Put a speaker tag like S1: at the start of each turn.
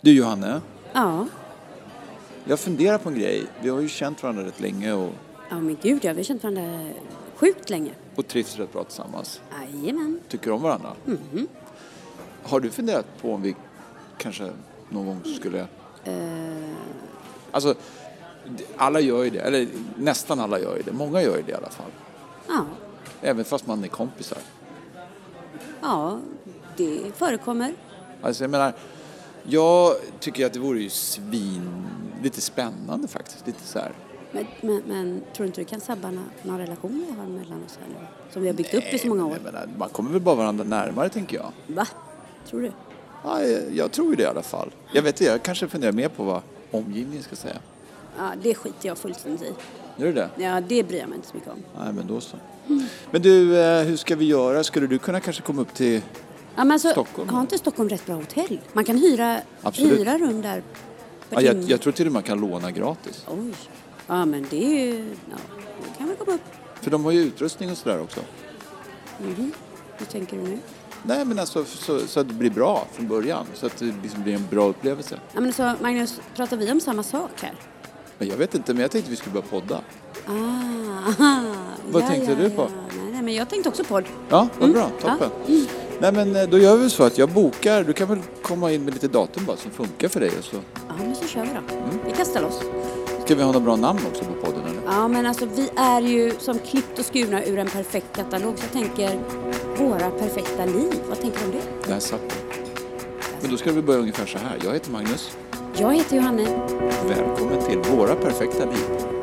S1: Du Johanne,
S2: Ja.
S1: jag funderar på en grej. Vi har ju känt varandra rätt länge och,
S2: Ja men gud ja, vi har känt varandra sjukt länge.
S1: och trivs rätt bra tillsammans.
S2: Jajamän.
S1: Tycker om varandra.
S2: Mm-hmm.
S1: Har du funderat på om vi kanske någon gång skulle...
S2: Eh.
S1: Alltså, d- alla gör ju det. Eller nästan alla gör ju det. Många gör ju det i alla fall.
S2: Ja.
S1: Även fast man är kompisar.
S2: Ja, det förekommer.
S1: Alltså jag menar, jag tycker att det vore ju svin... Lite spännande faktiskt. Lite så här.
S2: Men, men, men tror du inte du kan sabba nå- någon relation vi har mellan oss här nu? Som vi har byggt upp i så många år.
S1: eh, Jag menar, man kommer väl bara varandra närmare tänker jag.
S2: Va? Tror du?
S1: Ja, jag, jag tror ju det i alla fall. Jag vet inte, jag kanske funderar mer på vad omgivningen ska säga.
S2: Ja, det skiter jag fullständigt i.
S1: Gör du det?
S2: Ja, det bryr jag mig inte så mycket om.
S1: Nej, men då så. Men du, eh, hur ska vi göra? Skulle du kunna kanske komma upp till...
S2: Ja, men alltså,
S1: Stockholm.
S2: Har inte Stockholm rätt bra hotell? Man kan hyra,
S1: Absolut.
S2: hyra rum där. per
S1: Ja, jag,
S2: timme.
S1: jag tror till och med man kan låna gratis.
S2: Oj. Ja, men det är ju... Ja, då kan vi komma upp.
S1: För de har ju utrustning och sådär också.
S2: Mhm. Hur tänker du nu?
S1: Nej, men alltså så, så att det blir bra från början. Så att det liksom blir en bra upplevelse.
S2: Ja, men så, Magnus, pratar vi om samma sak här?
S1: Men jag vet inte, men jag tänkte vi skulle börja podda.
S2: Ah, aha.
S1: Vad
S2: ja,
S1: tänkte
S2: Ah, ja,
S1: du på?
S2: Ja. Nej, nej, men jag tänkte också podd.
S1: Mm. Ja, vad bra. Toppen. Nej, men eh, då gör vi så att jag bokar. Du kan väl komma in med lite datum bara som funkar för dig. Och så.
S2: Ja, men så kör vi då.
S1: Mm.
S2: Vi kastar loss.
S1: Ska vi ha några bra namn också på podden eller?
S2: Ja, men alltså vi är ju som klippt och skurna ur en perfekt katalog. Så jag tänker, våra perfekta liv. Vad tänker du om det?
S1: Där satt den. Men då ska vi börja ungefär så här. Jag heter Magnus.
S2: Jag heter Johanne.
S1: Välkommen till Våra perfekta liv.